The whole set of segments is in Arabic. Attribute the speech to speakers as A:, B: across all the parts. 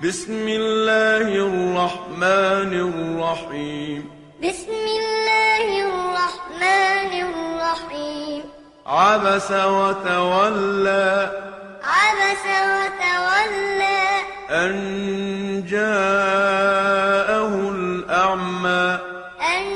A: بسم الله الرحمن الرحيم
B: بسم الله الرحمن الرحيم
A: عبس وتولى
B: عبس وتولى
A: أن جاءه الأعمى
B: أن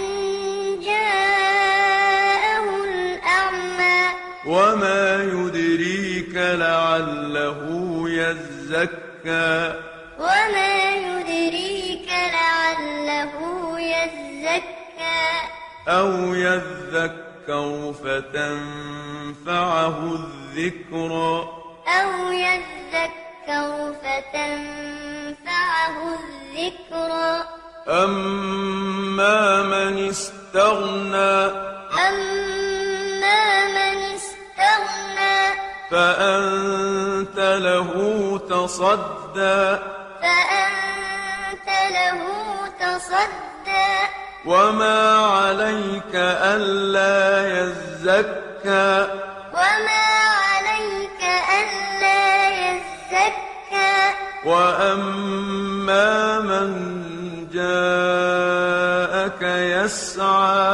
B: جاءه الأعمى
A: وما يدريك لعله يزكى
B: وما يدريك لعله يزكى
A: أو يذكر فتنفعه الذكرى
B: أو يذكر فتنفعه الذكرى
A: أما من استغنى
B: أما من استغنى
A: فأنت له تصدى
B: فأنت له تصدى
A: وما عليك ألا يزكى
B: وما عليك ألا يزكى
A: وأما من جاءك يسعى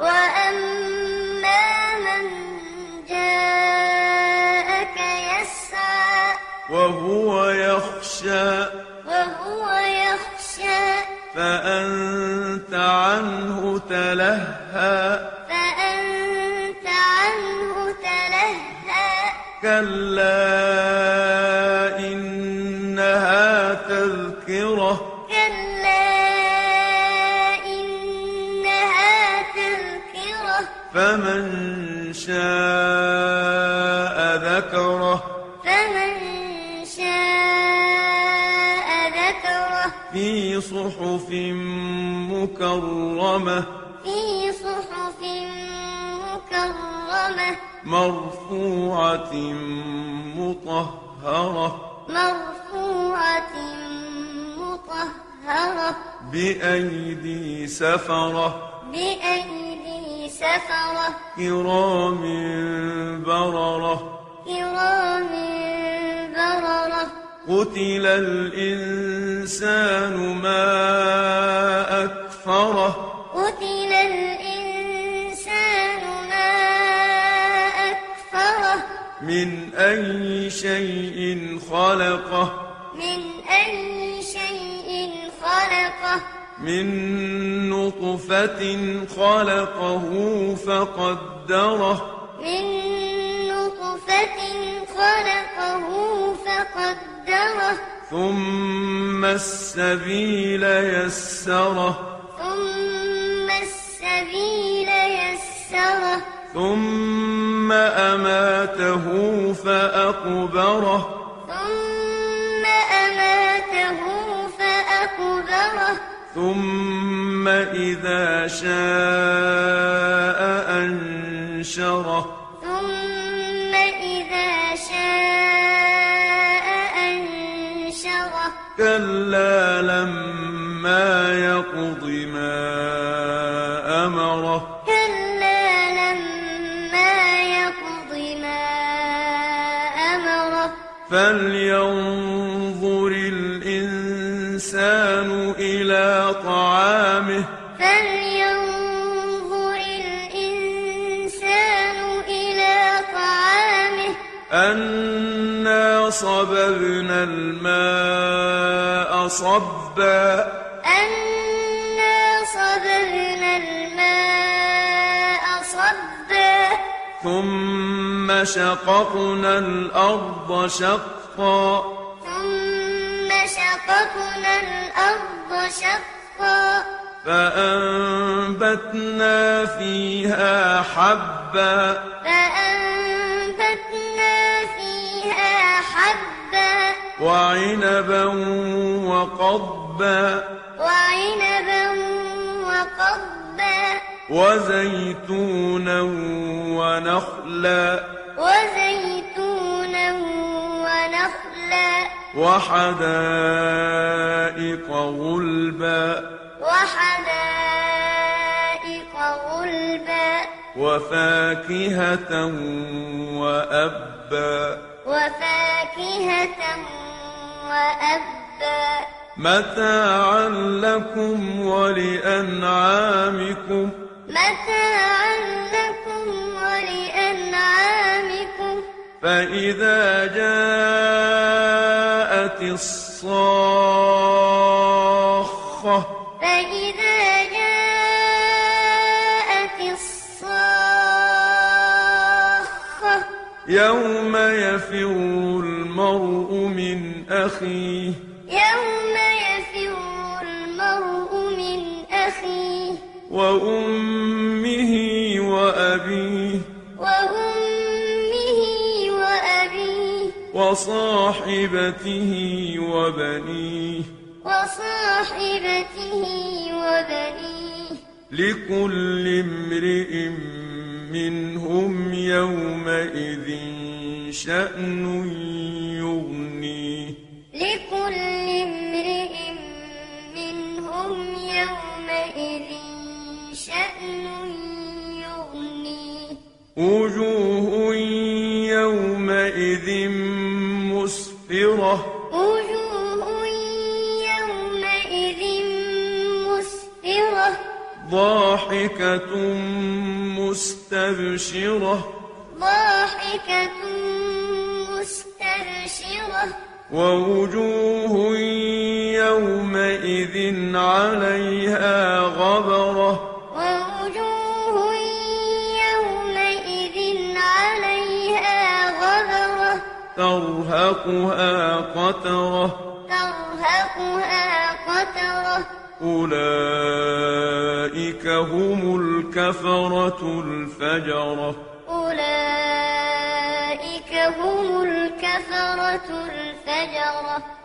B: وأما من جاءك يسعى
A: وهو يخشى
B: وهو يخشى
A: فأنت عنه تلهى
B: فأنت عنه تلهى
A: كلا إنها تذكرة
B: كلا إنها تذكرة
A: فمن شاء ذكره
B: فمن شاء ذكره
A: في صحف مكرمة
B: في صحف مكرمة
A: مرفوعة مطهرة
B: مرفوعة مطهرة
A: بأيدي سفرة
B: بأيدي سفرة
A: كرام بررة
B: كرام بررة
A: قتل الإنسان ما أكفره
B: قتل الإنسان ما أكفره
A: من أي شيء خلقه
B: من أي شيء خلقه
A: من نطفة خلقه فقدره
B: من نطفة خلقه فقدره
A: ثم السبيل يسره
B: ثم السبيل يسره
A: ثم أماته فأقبره
B: ثم أماته فأقبره
A: ثم إذا شاء أنشره
B: ثم إذا شاء أنشره
A: كلا لما يقض ما أمره
B: كلا لما يقض ما أمره
A: فلينظر الإنسان إلى طعامه
B: فلينظر الإنسان إلى طعامه
A: أنا صببنا الماء صبا
B: أنا صببنا الماء صبا
A: ثم شققنا الأرض شقا
B: ثم شققنا الأرض شقا
A: فأنبتنا فيها حبا
B: فأنبتنا فيها حبا
A: وعنبا وقضبا
B: وعنبا وقضبا
A: وزيتونا ونخلا
B: وزيتونا ونخلا
A: وحدائق غلبا
B: وحدائق غلبا
A: وفاكهة وأبا
B: وفاكهة وأبا غلبا
A: متاعا لكم ولأنعامكم
B: متاعا لكم ولأنعامكم
A: فإذا جاءت الصاخة
B: فإذا جاءت الصاخة
A: يوم يفر المرء من أخيه
B: يوم يفر المرء من أخيه
A: وأمه وأبيه
B: وأمه وأبيه
A: وصاحبته وبنيه
B: وصاحبته وبنيه
A: لكل امرئ منهم يومئذ شأن يغنيه
B: لكل امرئ منهم يومئذ شأن يغنيه
A: وجوه يومئذ مسفرة
B: وجوه يومئذ مسفرة
A: ضاحكة مستبشرة
B: ضاحكة مستبشرة
A: ووجوه يومئذ عليها غبره
B: ووجوه يومئذ عليها غبرة
A: ترهقها قترة
B: ترهقها قترة
A: أولئك هم الكفرة الفجرة
B: أولئك هم الكفرة الفجرة